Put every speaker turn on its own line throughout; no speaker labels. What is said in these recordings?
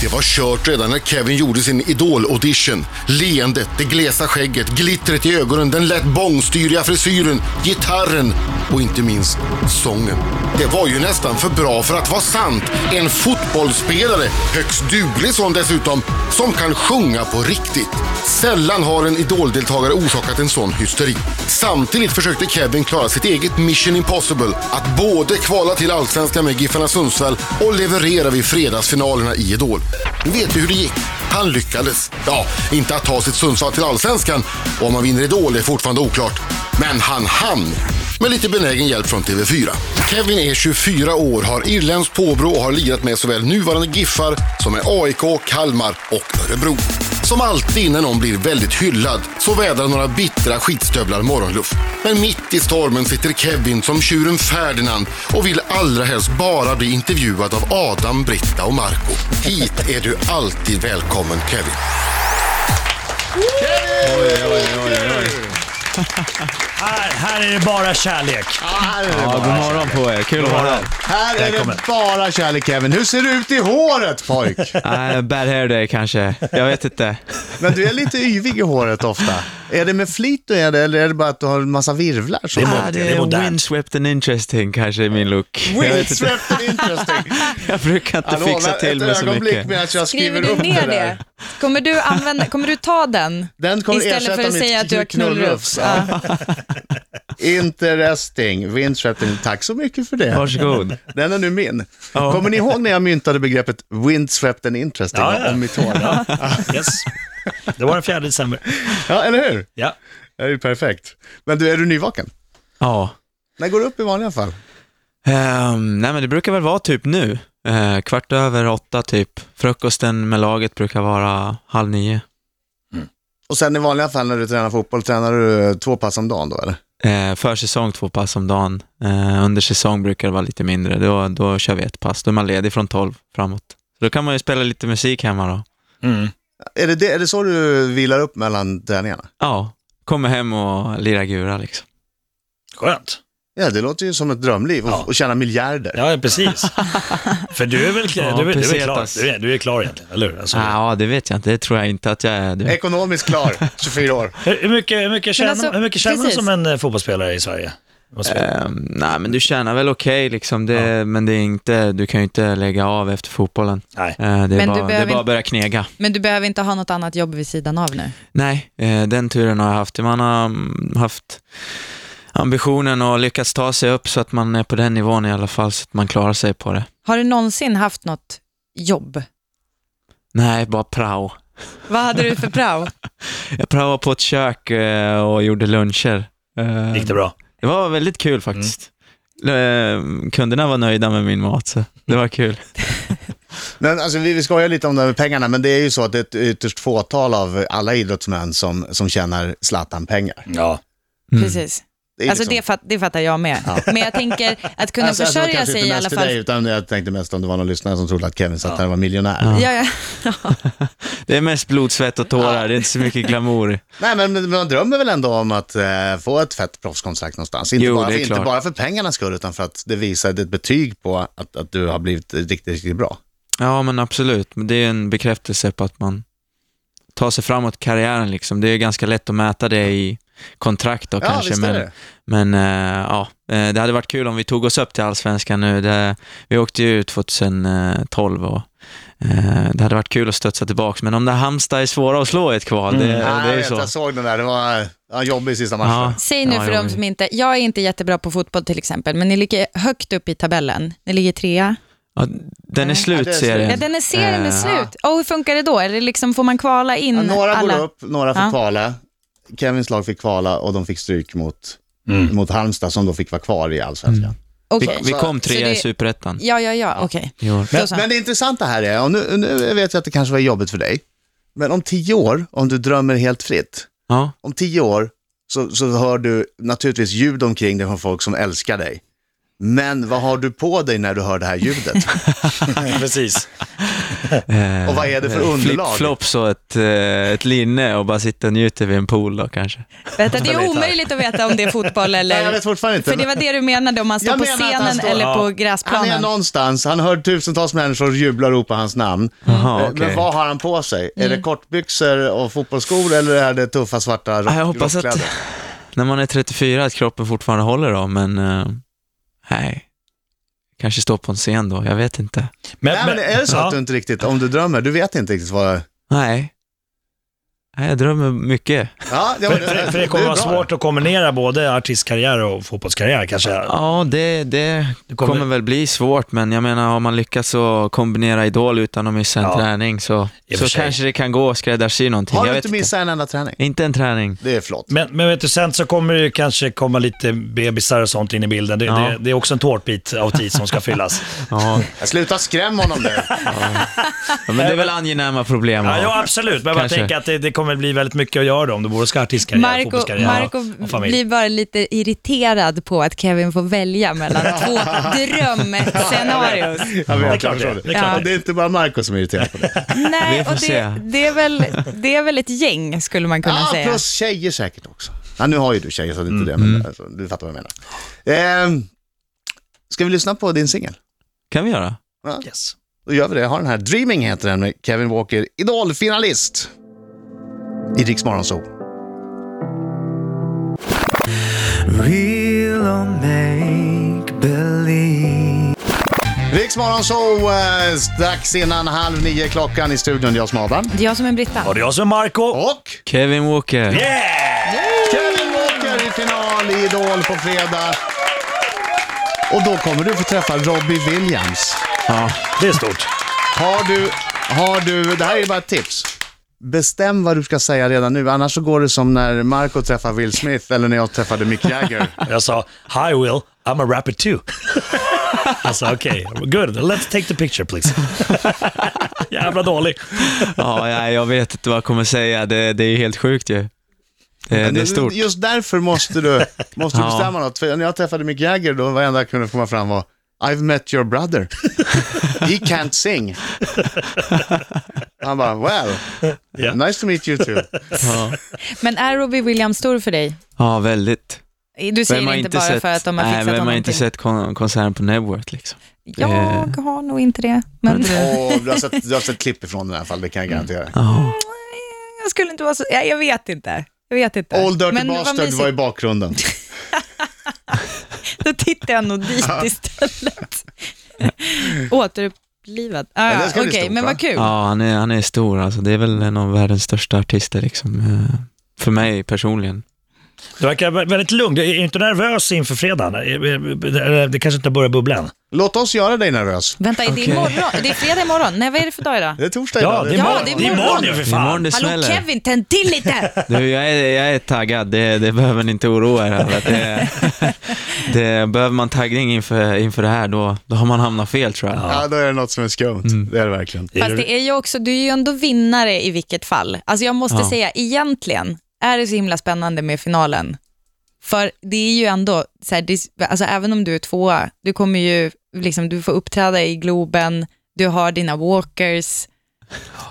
Det var kört redan när Kevin gjorde sin Idol-audition. Leendet, det glesa skägget, glittret i ögonen, den lätt bångstyriga frisyren, gitarren och inte minst sången. Det var ju nästan för bra för att vara sant. En fotbollsspelare, högst duglig sån dessutom, som kan sjunga på riktigt. Sällan har en idoldeltagare orsakat en sån hysteri. Samtidigt försökte Kevin klara sitt eget Mission Impossible. Att både kvala till Allsvenskan med Giffarna Sundsvall och leverera vid fredagsfinalerna i Idol. Nu vet vi hur det gick. Han lyckades. Ja, inte att ta sitt Sundsvall till Allsvenskan och om han vinner Idol är fortfarande oklart. Men han hann med lite benägen hjälp från TV4. Kevin är 24 år, har irländskt påbrå och har lirat med såväl nuvarande Giffar som med AIK, Kalmar och Örebro. Som alltid när någon blir väldigt hyllad så vädrar några bittra skitstövlar morgonluft. Men mitt i stormen sitter Kevin som tjuren Ferdinand och vill allra helst bara bli intervjuad av Adam, Britta och Marco. Hit är du alltid välkommen Kevin.
Här, här är det bara kärlek.
Här är det,
Ja, god morgon på er. Kul att vara här.
här är det
Välkommen.
bara kärlek Kevin. Hur ser du ut i håret pojk?
Nej, bad hair day kanske. Jag vet inte.
Men du är lite yvig i håret ofta. Är det med flit du är det eller är det bara att du har en massa virvlar? Som
Ja, Ah, det
det är
är
modernt.
windswept and interesting kanske är min look. Jag, vet inte.
Windswept and interesting.
jag brukar inte
Hallå,
fixa
men
till
ett
mig så
ögonblick
mycket.
Med att jag skriver
Skriver du
upp
ner
det där.
det? Kommer du, använda, kommer du ta den?
Den kommer
Istället
ersätta
för att
mitt
säga att du har
knullrufs.
knullrufs. Ja.
Interesting. Windswept and... Tack så mycket för det.
Varsågod.
Den är nu min. Kommer ni ihåg när jag myntade begreppet windswept and interesting
Ja, ja.
om mitt hår? Ja.
Yes. Det var den 4 december.
ja, eller hur?
Ja.
Det är ju perfekt. Men du, är du nyvaken?
Ja.
När går du upp i vanliga fall?
Ehm, nej men det brukar väl vara typ nu. Eh, kvart över åtta typ. Frukosten med laget brukar vara halv nio.
Och sen i vanliga fall när du tränar fotboll, tränar du eh, två pass om dagen då eller?
Eh, försäsong två pass om dagen. Eh, under säsong brukar det vara lite mindre. Då, då kör vi ett pass. Då är man ledig från tolv framåt. Så då kan man ju spela lite musik hemma då.
Mm, Är det, det, är det så du vilar upp mellan träningarna?
Ja, kommer hem och lirar gura liksom.
Skönt.
Ja, det låter ju som ett drömliv och,
Ja.
och tjäna miljarder.
Ja, precis. För du är väl, du är, du är
precis,
klar?
alltså.
Du är, du är klar egentligen, eller hur? Alltså,
Ah, ja, det vet jag inte. Det tror jag inte att jag är. Du.
Ekonomiskt klar, 24 år.
hur, hur mycket, hur mycket tjänar,
alltså,
hur mycket tjänar man
precis.
som en eh, fotbollsspelare i Sverige? Man
Eh,
spelar-
Ehm, nej, men du tjänar väl okej liksom. Det, Men det är inte, du kan ju inte lägga av efter fotbollen.
Nej.
Eh, det, är
Men
bara, det
du
är
behöver
bara
inte-
att börja knega.
Men du behöver inte ha något annat jobb vid sidan av nu.
Nej, eh, den turen har jag haft. Man har mm, haft ambitionen och lyckats ta sig upp så att man är på den nivån i alla fall, så att man klarar sig på det.
Har du någonsin haft något jobb?
Nej, bara prao.
Vad hade du för prao?
Mm.
Jag praoade på ett kök eh, och gjorde luncher. Eh,
Gick det bra?
Det var väldigt kul faktiskt. Eh, Kunderna var nöjda med min mat, så det var kul.
Men alltså, vi, vi skojar lite om det här med pengarna, men det är ju så att det är ett ytterst fåtal av alla idrottsmän som, som tjänar Zlatan-pengar.
Ja.
Mm.
Precis.
Det är
Alltså
liksom-
det, fatt, det fattar jag med. Men jag tänker att kunna
Alltså, alltså,
försörja
kanske
sig
inte
i
mest
alla
till
fall.
Dig, utan jag tänkte mest om det var någon lyssnare som trodde att Kevin satt här och var miljonär.
Ja, ja.
Det är mest blod, svett och tårar, det är inte så mycket glamour.
Nej, men men man drömmer väl ändå om att eh, få ett fett proffskontrakt någonstans. Inte,
Jo,
bara,
det är
inte
klart.
bara för pengarnas skull, utan för att det visar det är ett betyg på att, att du har blivit riktigt, riktigt bra.
Ja, men absolut. Men Det är en bekräftelse på att man tar sig framåt i karriären. Liksom. Det är ganska lätt att mäta det i kontrakt då,
Ja,
kanske.
visst är
Men,
det.
men eh, ja, eh, det hade varit kul om vi tog oss upp till Allsvenskan nu. Det, vi åkte ju ut 2012 och eh, det hade varit kul att studsa tillbaka. Men de där Halmstad är svåra att slå i ett kval. Det,
Ja,
det är
jag,
ju
vet,
så.
jag såg den där, det var ja, jobbig sista matchen.
Ja.
Säg nu
Ja,
för
jag
dem
med.
som inte... Jag är inte jättebra på fotboll till exempel, men ni ligger högt upp i tabellen. Ni ligger trea.
Ja, den är
Ja,
slut,
det är
serien.
Ja, den är serien är
Eh,
slut. Och hur funkar det då? Är det liksom, får man kvala in
Ja, några
alla?
går upp, några får
Ja.
kvala. Kevins lag fick kvala och de fick stryk mot,
Mm.
mot Halmstad som då fick vara kvar i allsvenskan.
Okej.
Vi, vi kom
Så
trea i
det-
Superettan
Ja, ja, ja, okej.
i år.
Då så.
Men det intressanta här är, och nu, nu vet jag att det kanske var jobbigt för dig, men om tio år, om du drömmer helt fritt,
Ja,
om tio år så, så hör du naturligtvis ljud omkring dig från folk som älskar dig. Men vad har du på dig när du hör det här ljudet?
Precis.
Eh,
Och vad är det för underlag?
Flipflops och ett, eh, ett linne och bara sitta och njuta vid en pool då kanske.
Vänta, det är omöjligt att veta om det är fotboll eller...
Nej, jag vet fortfarande inte,
För det var
men-
det du menade, om man står
Jag
på
menar att han
scenen
står-
eller på
Ja.
gräsplanen.
Han är någonstans, han hör tusentals människor jubla och ropa hans namn.
Mm.
Jaha,
Eh,
Ah, okej.
Men vad har han på sig? Är det kortbyxor och fotbollsskor eller är det tuffa svarta rock,
Ja, jag hoppas att
rockkläder?
när man är 34 att kroppen fortfarande håller då, men eh, nej. Kanske stå på en scen då, jag vet inte.
Nej, men är det så
ja.
att du inte riktigt, om du drömmer, du vet inte riktigt vad...
Nej. Nej, jag drömmer mycket.
Ja, det,
För, för, för det kommer vara
är bra.
svårt att kombinera både artistkarriär och fotbollskarriär kanske.
Ja, det, det
kommer-
kommer... väl bli svårt, men jag menar har man lyckats att kombinera Idol utan att missa en
Ja.
träning så,
I och för
så
sig.
kanske det kan gå att skräddarsy någonting.
Har
jag
du
vet
inte missat en enda träning?
inte. Inte en träning.
Det är flott.
Men, men vet du, sen så kommer det kanske komma lite bebisar och sånt in i bilden. Det,
Ja.
det, det är också en tårtbit av tid som ska fyllas.
Ja,
Sluta skrämma honom nu.
men det är väl angenäma problem.
Ja,
att ha.
ja absolut, men jag bara
Kanske.
tänker att det, det kommer bli väldigt mycket att göra då, om du både ska ha artistkarriär,
Marco,
fotbollskarriär
Marco
och, och familj.
blir bara lite irriterad på att Kevin får välja mellan två
Jag
drömscenarios.
Det är
vet, jag
klart
förstår
det.
det.
Det är klart
Ja.
Och det är inte bara Marco som är irriterad på det.
Nej,
Vi får
och
se.
det, det, är väl, det är väl ett gäng skulle man kunna
Ja,
säga.
plus tjejer säkert också. Ja, nu har ju du tjejer så det är inte det,
Mm.
men alltså, du fattar vad jag menar. Ehm, ska vi lyssna på din singel?
Kan vi göra?
Yes.
Då gör vi det. Jag har den här. Dreaming heter den med Kevin Walker, idolfinalist i Riks Morgonzoo. Riks Morgonzoo, eh, strax innan halv nio klockan i studion. Jag som är Adam.
Det är jag som är Britta.
Och det är jag som är Marco.
Och
Kevin Walker.
Yeah!
Kevin Walker i final i Idol på fredag. Och då kommer du få träffa Robbie Williams.
Ja.
Det är stort.
Har du, har du, det här är bara ett tips. Bestäm vad du ska säga redan nu, annars så går det som när Marco träffar Will Smith eller när jag träffade Mick Jagger.
Jag sa, hi Will, I'm a rapper too. Jag sa, okej, good, let's take the picture please. Jävla dålig.
Ja, ja, jag vet inte vad jag kommer säga. Det, det är ju helt sjukt ju. Det, det är stort.
Just därför måste du, måste du
Ja.
bestämma något. För när jag träffade Mick Jagger, då var det enda jag kunde komma fram var I've met your brother. He can't sing. Han bara, well,
Ja.
nice to meet you too.
Ja,
Men är Robbie Williams stor för dig?
ja väldigt.
Du säger det inte bara för att de har
nej,
fixat
vem har
honom
inte
till...
sett kon konserten på Nebworth liksom?
Jag har nog inte det, men
Och du, har sett, du har sett klipp ifrån den i alla fall, det kan jag
Mm.
garantera.
Ja,
jag skulle inte vara så... Jag, jag vet inte. Jag vet inte.
Old Dirty
men vad
Bastard
mysigt.
var i bakgrunden.
Då tittar jag nog dit istället. Återupplivad. Ah,
Ja,
ja,
det ska
Okej,
bli stort,
men
va?
vad kul.
ja han, är, han är stor alltså. Det är väl en av världens största artister liksom. eh, För mig personligen.
Du verkar vä- väldigt lugn. Är du inte nervös inför fredagen? Är- är- är- Det kanske inte börjar bubbla än?
Låt oss göra dig nervös.
Vänta, är det
Okej.
imorgon? Det är fredag imorgon. Nej, vad är det för dag idag?
Det är torsdag
Ja, det är
Ja,
imorgon.
det är
det är
imorgon.
imorgon ju för
Imorgon
fan.
det
Hallå
smäller.
Kevin, tänd till lite!
Du, jag, är, jag är taggad, det, det behöver ni inte oroa er över. Det, det, behöver man taggning inför, inför det här, då, då har man hamnat fel tror jag.
Ja, då är det något som är skumt.
Mm.
Det är det verkligen.
Fast det är ju också, du är ju ändå vinnare i vilket fall. Alltså jag måste
Ja.
säga, egentligen är det så himla spännande med finalen. För det är ju ändå, så här, det, alltså även om du är tvåa, du kommer ju, liksom, du får uppträda i Globen, du har dina walkers,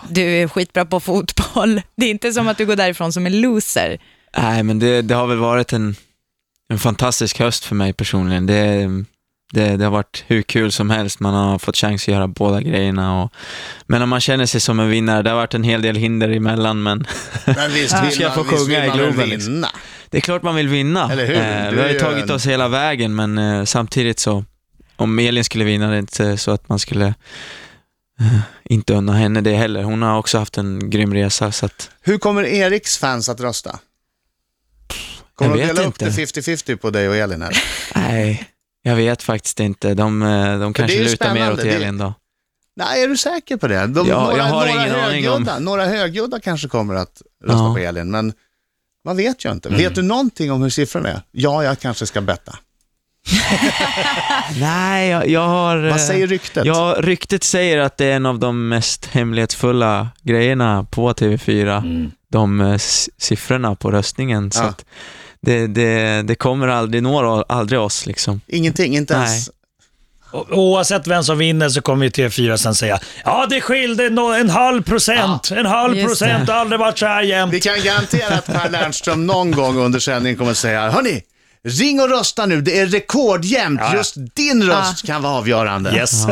du är skitbra på fotboll. Det är inte som att du går därifrån som en loser.
Nej, men det, det har väl varit en, en fantastisk höst för mig personligen. Det, det, det har varit hur kul som helst, man har fått chans att göra båda grejerna. Och, men om man känner sig som en vinnare, det har varit en hel del hinder emellan, men
Men visst vill
Ska jag
man,
få
visst
sjunga
vill
i
man väl
Globen, liksom?
vinna?
det är klart man vill vinna.
Eller hur?
Eh,
Du
vi har
är
ju
ju
tagit
en-
oss hela vägen, men eh, samtidigt så, om Elin skulle vinna, det är inte så att man skulle eh, inte unna henne det heller. Hon har också haft en grym resa, så att
Hur kommer Eriks fans att rösta? Kommer
Jag
de
vet
dela upp det
inte.
50-50 på dig och Elin här?
nej, jag vet faktiskt inte. De, eh, de kanske
ju
lutar mer
spännande.
åt
Det-
Elin då.
Nej, är du säker på det? De,
Ja, jag har
några
ingen aning om-
högljudda- Några högljudda kanske kommer att rösta
Ja. Mm.
på Elin, men man vet ju inte. Vet du någonting om hur siffrorna är? Ja, jag kanske ska betta.
Nej, jag, jag har... eh,
Vad säger ryktet?
Ja, ryktet säger att det är en av de mest hemlighetsfulla grejerna på TV4. De eh, s- siffrorna på röstningen. Så
Mm. Ja.
att det, det, det kommer aldrig, når aldrig oss liksom.
Ingenting, inte
Nej.
ens...
O- Oavsett vem som vinner så kommer ju TV4 sen säga ja det skilde nå- en halv procent, en halv
Just
procent, det har aldrig varit så här jämnt.
Vi kan garantera att Per Lernström någon gång under sändningen kommer säga, hörni, ring och rösta nu, det är rekordjämnt,
Ja, ja.
just din röst kan vara avgörande.
Yes.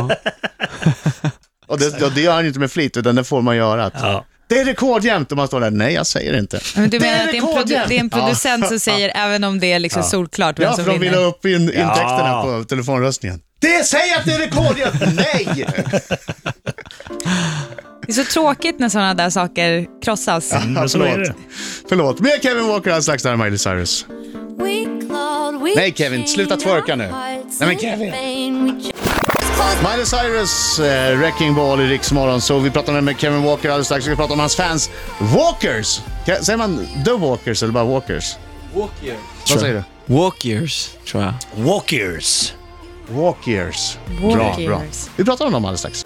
Och det, och det gör han ju inte med flit, utan det får man göra. Att,
Ja.
Det är rekordjämnt, och man står där, nej jag säger inte.
Men du
Det
menar
är
att det är en, produ-
rekordjämnt.
det är en producent som säger, även om det är liksom solklart vem
Ja, för
som
de vill ha
vinner.
upp in, intäkterna
Ja.
på telefonröstningen. Det säger att det är rekordjämnt, nej!
Det är så tråkigt när sådana där saker krossas.
Men så är det.
Förlåt, mer Kevin Walker alldeles strax, det här är Miley Cyrus.
Nej Kevin, sluta twerka nu. Nej men Kevin.
Miley Cyrus, eh, Wrecking Ball i Riks så vi pratar med- med Kevin Walker alldeles strax. Vi ska prata om hans fans, Walkers. Ka- Säger man The Walkers eller bara Walkers? Vad säger du?
Walkers, tror jag.
Walkers.
Walkers.
Walkers.
Bra, bra. Vi pratar om dem alldeles strax.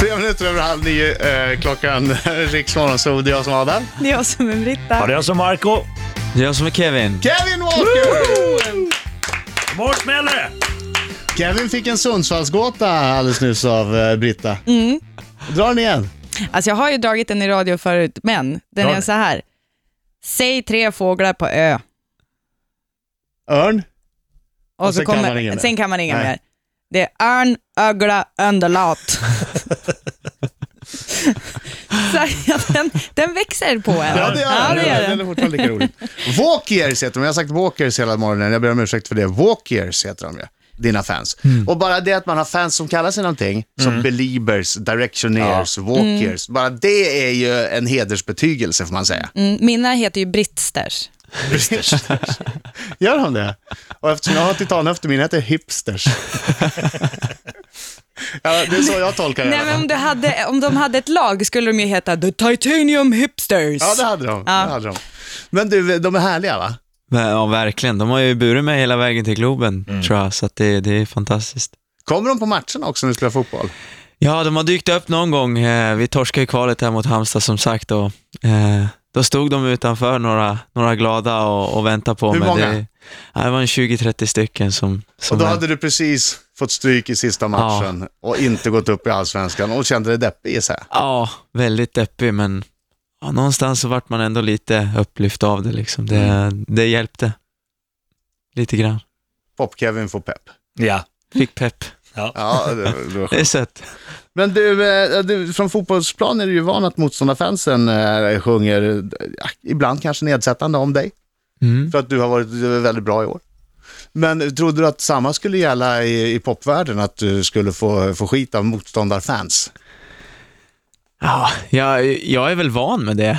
Tre minuter över halv nio, eh, klockan Riks så det är jag som Adam.
Det är jag som är
Ja, det
Britta.
är jag som Marco.
Det är jag som är Kevin.
Kevin Walker!
Mårten smäller
Kevin fick en Sundsvallsgåta alldeles nyss av eh, Britta. Dra den igen.
Alltså jag har ju dragit den i radio förut, men den
Dra
är
den.
så här. Säg tre fåglar på ö.
Örn.
Och, så
sen
sen,
kan
kommer,
man inga mer.
kan sen kan man inga
Nej.
mer. Det är örn, ögla, underlat. så ja, den, den växer på en.
Ja, det gör
ja,
den.
det gör
Den
den.
är fortfarande lika rolig. Walkers heter de. Jag har sagt Walkers hela morgonen. Jag ber om ursäkt för det. Walkers heter de ju. Dina fans.
Mm.
Och bara det att man har fans som kallar sig någonting, som Beliebers, Directioners, Walkers. Bara det är ju en hedersbetygelse får man säga.
Mm, Mina heter ju Britsters.
Gör de det? Och eftersom jag har titanhöfter, mina heter hipsters. ja, det är så jag tolkar det. i
Nej,
alla
men
fall.
om, du hade, om de hade ett lag skulle de ju heta The Titanium Hipsters.
Ja, det hade de. Det hade de. Men du, de är härliga va?
Men, Ja, verkligen. De har ju burit mig hela vägen till Globen,
Mm.
tror jag, så att det, det är fantastiskt.
Kommer de på matcherna också när du spelar fotboll?
Ja, de har dykt upp någon gång. Eh, Vi torskade ju kvalet här mot Halmstad som sagt och eh, då stod de utanför några, några glada och, och väntade på
Hur
mig.
många?
Det, ja, det var en 20-30 stycken som,
Och
som
då hade du precis fått stryk i sista matchen och inte gått upp i allsvenskan och kände dig deppig gissar jag.
Ja, väldigt deppig men ja, någonstans så vart man ändå lite upplyft av det liksom. Det,
Mm.
det hjälpte. Lite grann.
Pop-Kevin får pepp.
Ja.
Fick pepp.
Ja, det, var- det var
Det
skönt.
är sött.
Men du, eh, du, från fotbollsplan är du ju van att motståndarfansen eh, sjunger, eh, ibland kanske nedsättande om dig,
Mm.
för att du har varit eh, väldigt bra i år. Men trodde du att samma skulle gälla i, i popvärlden, att du skulle få, få skit av motståndarfans?
Ja, jag, jag är väl van med det. Eh,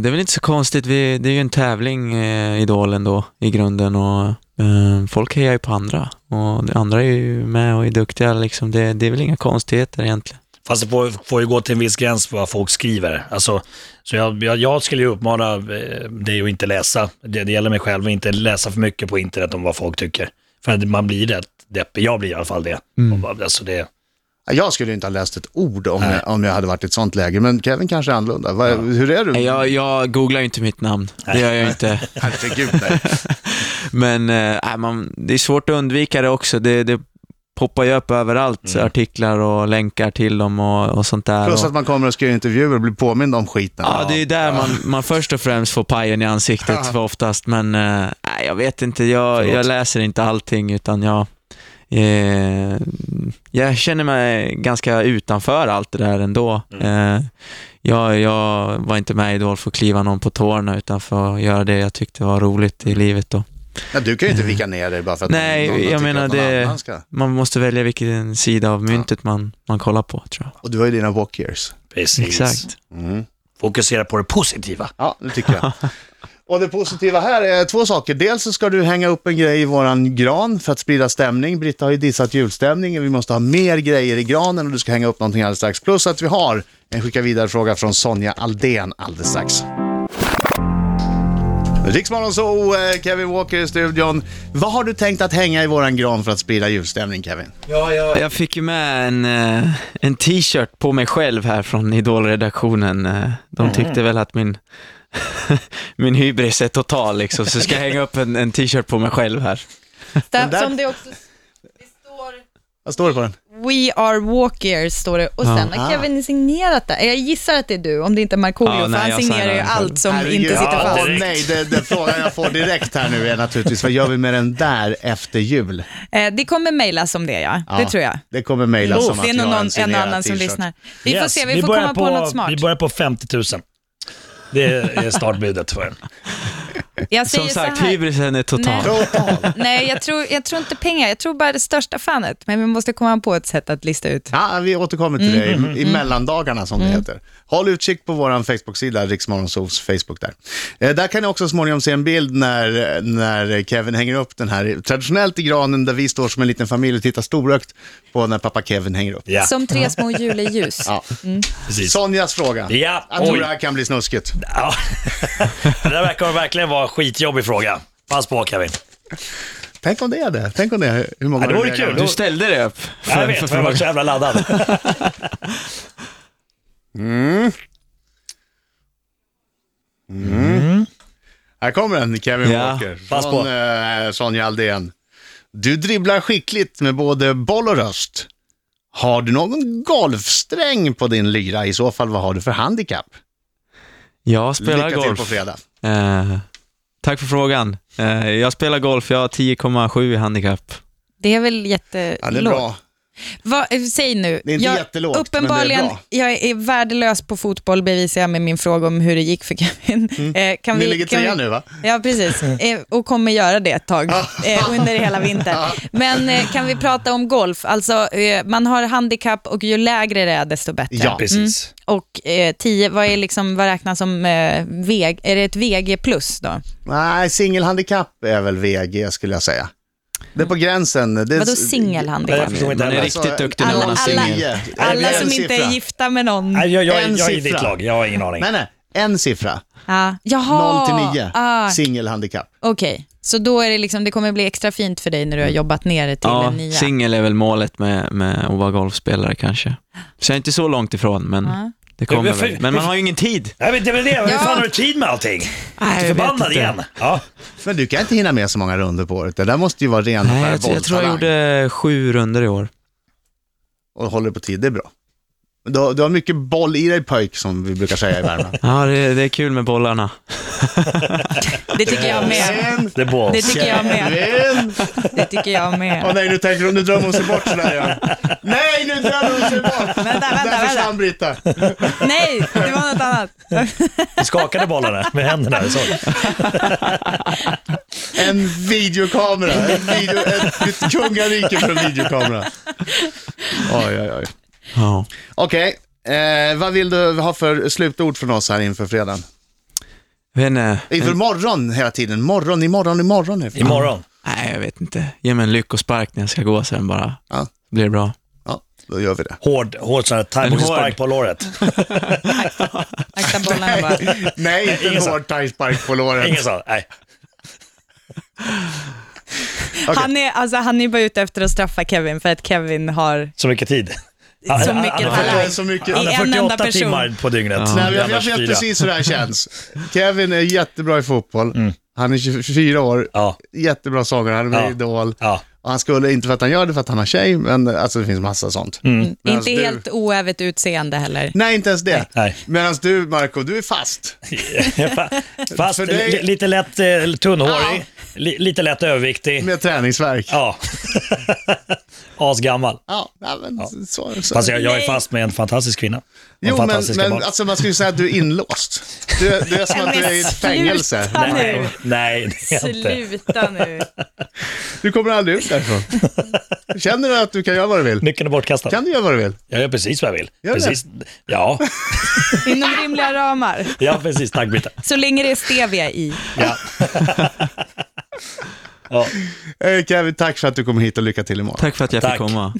Det är väl inte så konstigt. Vi, det är ju en tävling, eh, Idol ändå, i grunden. Och, eh, folk hejar ju på andra. Och de andra är ju med och är duktiga. Liksom. Det, det är väl inga konstigheter egentligen.
Fast det får, får ju gå till en viss gräns för vad folk skriver. Alltså, så jag, jag, jag skulle ju uppmana eh, dig att inte läsa, det, det gäller mig själv, att inte läsa för mycket på internet om vad folk tycker. För att man blir rätt deppig, jag blir i alla fall det. Och bara, Alltså det
Ja, Jag skulle ju inte ha läst ett ord om jag, om jag hade varit i ett sånt läge, men Kevin kanske är annorlunda. Vad- Hur är du?
Eh, Jag, jag googlar ju inte mitt namn. Det gör jag ju inte.
Herregud, nej.
Men eh, nej, man, det är svårt att undvika det också. Det, det poppar ju upp överallt, artiklar och länkar till dem och, och sånt där.
Plus
Och-
att man kommer och ska göra intervjuer och blir påmind om skiten.
Ja, det är ju där man, man först och främst får pajen i ansiktet för oftast, men eh, nej, jag vet inte, jag, jag läser inte allting utan jag, eh, jag känner mig ganska utanför allt det där ändå. Eh, jag, jag var inte med i Idol för att kliva någon på tårna utan för att göra det jag tyckte var roligt i livet då.
Ja, du kan ju inte vika ner dig bara för att
Nej,
någon, någon
jag
tycker
menar
att någon
det-
annan ska.
Man måste välja vilken sida av myntet man, man kollar på tror jag.
Och du har ju dina walkers.
precis.
Exakt.
Fokusera på det positiva.
Ja, det tycker jag. Och det positiva här är två saker. Dels så ska du hänga upp en grej i våran gran för att sprida stämning. Britta har ju dissat julstämningen. Vi måste ha mer grejer i granen och du ska hänga upp någonting alldeles strax. Plus att vi har en skicka vidare-fråga från Sonja Aldén alldeles strax. Riksmorgon så eh, Kevin Walker i studion. Vad har du tänkt att hänga i våran gran för att sprida julstämning, Kevin?
Jag fick ju med en, eh,
Mm.
en t-shirt på mig själv här från Idolredaktionen. Eh, De tyckte väl att min min hybris är total liksom, så ska jag hänga upp en, en t-shirt på mig själv här.
Där,
där-
Som det också det står
Vad står det på den?
We are walkers, står det. Och sen
Ah.
har Kevin signerat det. Jag gissar att det är du, om det inte är Markoolio,
Ja,
för
nej,
han
jag signerar
signerar ju
den själv.
allt som
Herregud.
inte sitter
Ja,
fast.
direkt.
nej, det, den frågan jag får direkt här nu är naturligtvis, vad gör vi med den där efter jul?
Eh, det kommer mejlas om det, ja. Det
Ja,
tror jag. Oh,
Det kommer mejla som
det är
att jag
nog
har
någon, en och
signerad
annan som
t-shirt.
lyssnar. Vi får
Yes,
se, vi, får
börjar
komma på, något smart.
Vi börjar på 50 000. Det är startbudet för den.
Jag säger
Som sagt,
så här.
hybrisen är total.
Nej.
Total.
Nej, jag tror, jag tror inte pengar. Jag tror bara det största fanet. Men vi måste komma på ett sätt att lista ut.
Ja, vi återkommer till
Mm.
det i, i mellandagarna som det heter. Håll utkik på vår Facebook-sida, Riksmorgonsols Facebook där. Eh, där kan ni också småningom se en bild när, när Kevin hänger upp den här, traditionellt i granen där vi står som en liten familj och tittar storögt på när pappa Kevin hänger upp.
Ja,
Som tre små juleljus.
Ja.
precis.
Sonjas fråga.
Ja,
Jag tror
oj.
det här kan bli snuskigt.
Ja. Det där verkar verkligen vara en skitjobbig fråga. Pass på Kevin.
Tänk om det är det. Tänk om det är hur många
Ja, det vore
du-
kul.
Du ställde dig upp för,
Jag
för
vet, för jag var
frågan.
så jävla laddad.
Här kommer den, Kevin
Ja,
Walker. Från,
pass på.
eh, Sonja Aldén. Du dribblar skickligt med både boll och röst. Har du någon golfsträng på din lyra? I så fall, vad har du för handikapp?
Jag spelar
Lycka till på
golf.
fredag.
Eh, tack för frågan. Eh, jag spelar golf, jag har 10,7 i handikapp.
Det är väl jättelågt?
Ja, det är bra.
Vad, eh, säg nu.
Det är inte
jag,
jättelågt, men det är
uppenbarligen,
bra.
jag är värdelös på fotboll bevisar jag med min fråga om hur det gick för Kevin. Eh, kan
Mm. Ni ligger
kan
trea nu va?
Ja, precis. Eh, och kommer göra det ett tag eh, under hela vintern. Men eh, kan vi prata om golf? Alltså, eh, man har handikapp och ju lägre det är desto bättre.
Ja.
Precis.
Och eh, 10, vad, är liksom, vad räknas som eh, VG? Är det ett VG plus då?
Nej, singelhandikapp är väl VG skulle jag säga. Det är på gränsen. Det är... Alltså,
Vadå
Nej, jag
singelhandikapp?
förstår inte
Man Mm. är
heller.
riktigt duktig
när man är singel.
Alla,
Alla som inte är gifta med någon.
Nej, jag, jag,
En
jag, är i
siffra.
ditt lag, jag har ingen aning.
Nej, nej. En siffra.
Ah. Jaha!
0 till 9.
Ah,
Singelhandikapp.
Okej, så då är det liksom, det kommer bli extra fint för dig när du har jobbat ner det till
Ja,
en nia.
singel är väl målet med, med att vara golfspelare kanske. Så jag är inte så långt ifrån, men
Ja.
det kommer
Men varför-
väl. Men man har ju ingen tid.
Jag vet inte vad det är, hur
Ja.
fan har du tid med allting?
Nej, jag
Förbannad igen. Ja.
Men du kan inte hinna med så många runder på året. Det där måste ju vara ren
Nej,
affär,
jag, jag tror jag
bolltalang.
gjorde sju runder i år.
Och håller på tid, det är bra. Du har, du har mycket boll i dig pöjk, som vi brukar säga i Värmland.
Ja, det, det är kul med bollarna.
Det tycker jag med.
Sen,
Det är
Det
balls.
tycker jag med.
Kevin!
Det tycker jag
Åh
med.
nej, nu tänker hon, nu drömmer hon sig bort sådär igen. Nej, nu drömmer hon sig bort!
Vänta, vänta,
Där försvann
vänta.
Britta.
Nej, det var något annat.
Du skakade bollarna med händerna. Så.
En videokamera, en video, ett, ett kungarike för en videokamera. Oj, oj, oj.
Ja.
Okej, eh, vad vill du ha för slutord från oss här inför fredagen?
Jag vet inte.
Inför morgon hela tiden, morgon, imorgon, imorgon. är det.
Imorgon.
Nej, jag vet inte. Ge mig en lyckospark när jag ska gå sen bara.
Ja.
Blir det bra.
Ja, då gör vi det.
Hård, hård sån här thaiboxningsspark på låret.
Akta bollarna bara.
Nej, inte
ingen
en
sa-
hård thaispark på låret.
Ingen sa, nej.
Han är, alltså, han är bara ute efter att straffa Kevin för att Kevin har...
Så mycket tid. Han-
Så
han-
mycket
han har
talang.
Det är
48
så mycket.
I
Han
en
har
enda
48
person.
timmar på dygnet.
Nej, men jag,
Jävla
jag vet
fyra.
precis hur det här känns. Kevin är jättebra i fotboll. Han är 24 år,
Mm. Ja,
jättebra sångare, han är med i
Ja.
Idol.
ja.
Och han skulle, inte för att han gör det för att han har tjej, men alltså det finns massa sånt.
Mm.
Medan
Inte
alltså, du-
helt oävet utseende heller.
Nej, inte ens det.
Nej.
Medan du, Marco, du är fast.
Fa- Fast
För dig-
li- lite lätt eh, tunnhårig, li- lite lätt överviktig.
Med träningsvärk. Ja,
Ja. Asgammal.
ja men så. så.
Fast jag, jag är fast med en fantastisk kvinna. Och
Jo, men,
fantastiska
men
barn.
alltså, man skulle ju säga att du är inlåst. Du, du är som att du är i ett fängelse.
sluta nu.
Nej, nej, det är jag inte.
Sluta nu.
Du kommer aldrig ut därifrån. Känner du att du kan göra vad du vill?
Nyckeln är bortkastad.
Kan du göra vad du vill?
Jag gör precis vad jag vill.
Gör det?
precis. Ja.
Inom rimliga ramar.
ja, precis. Tack Britta.
Så länge det är stevia i.
Ja. ja.
Eh, Kevin, tack för att du kom hit och lycka till imorgon.
Tack för att jag
Tack.
fick komma.